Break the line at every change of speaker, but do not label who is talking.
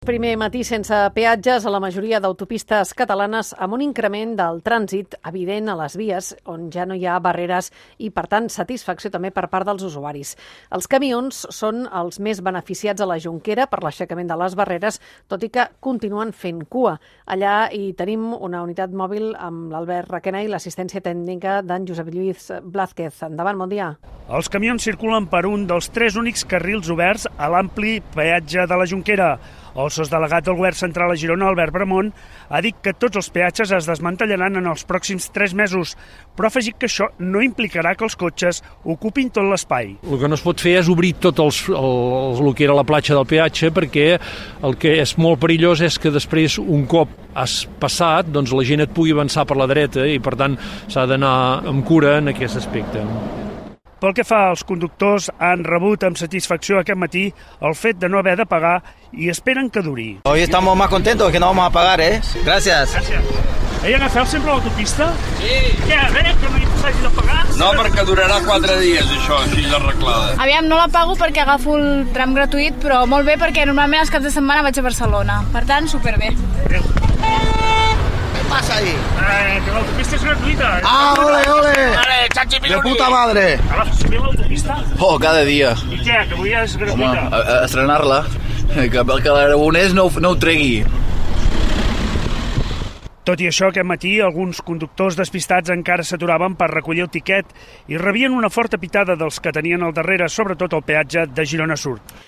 Primer matí sense peatges a la majoria d'autopistes catalanes amb un increment del trànsit evident a les vies on ja no hi ha barreres i, per tant, satisfacció també per part dels usuaris. Els camions són els més beneficiats a la Junquera per l'aixecament de les barreres, tot i que continuen fent cua. Allà hi tenim una unitat mòbil amb l'Albert Requena i l'assistència tècnica d'en Josep Lluís Blázquez. Endavant, bon dia.
Els camions circulen per un dels tres únics carrils oberts a l'ampli peatge de la Junquera. El sosdelegat del Govern Central a Girona, Albert Bramon, ha dit que tots els peatges es desmantellaran en els pròxims tres mesos, però ha afegit que això no implicarà que els cotxes ocupin tot l'espai.
El que no es pot fer és obrir tot els, el, el que era la platja del peatge perquè el que és molt perillós és que després, un cop has passat, doncs la gent et pugui avançar per la dreta i, per tant, s'ha d'anar amb cura en aquest aspecte.
Pel que fa als conductors, han rebut amb satisfacció aquest matí el fet de no haver de pagar i esperen que duri.
Hoy estamos más contentos que no vamos a pagar, ¿eh? Gracias.
Gràcies. Ei, agafeu sempre l'autopista? Sí. Què, a veure, que no hi s'hagi de pagar?
No, perquè durarà 4 dies, això, així arreglada.
Aviam, no la pago perquè agafo el tram gratuït, però molt bé perquè normalment els caps de setmana vaig a Barcelona. Per tant, superbé.
¿Qué pasa ahí?
Eh, que l'autopista és gratuïta. eh?
¡Ah, ole, ole!
Vale, xatxi,
¡De puta madre!
Agafes subir l'autopista?
Oh, cada dia.
I què, que avui és
Home, eh,
gratuïta?
a, a estrenar-la. Que, que l'Aragonès no, ho- no ho tregui.
Tot i això, aquest matí alguns conductors despistats encara s'aturaven per recollir el tiquet i rebien una forta pitada dels que tenien al darrere, sobretot el peatge de Girona Sud.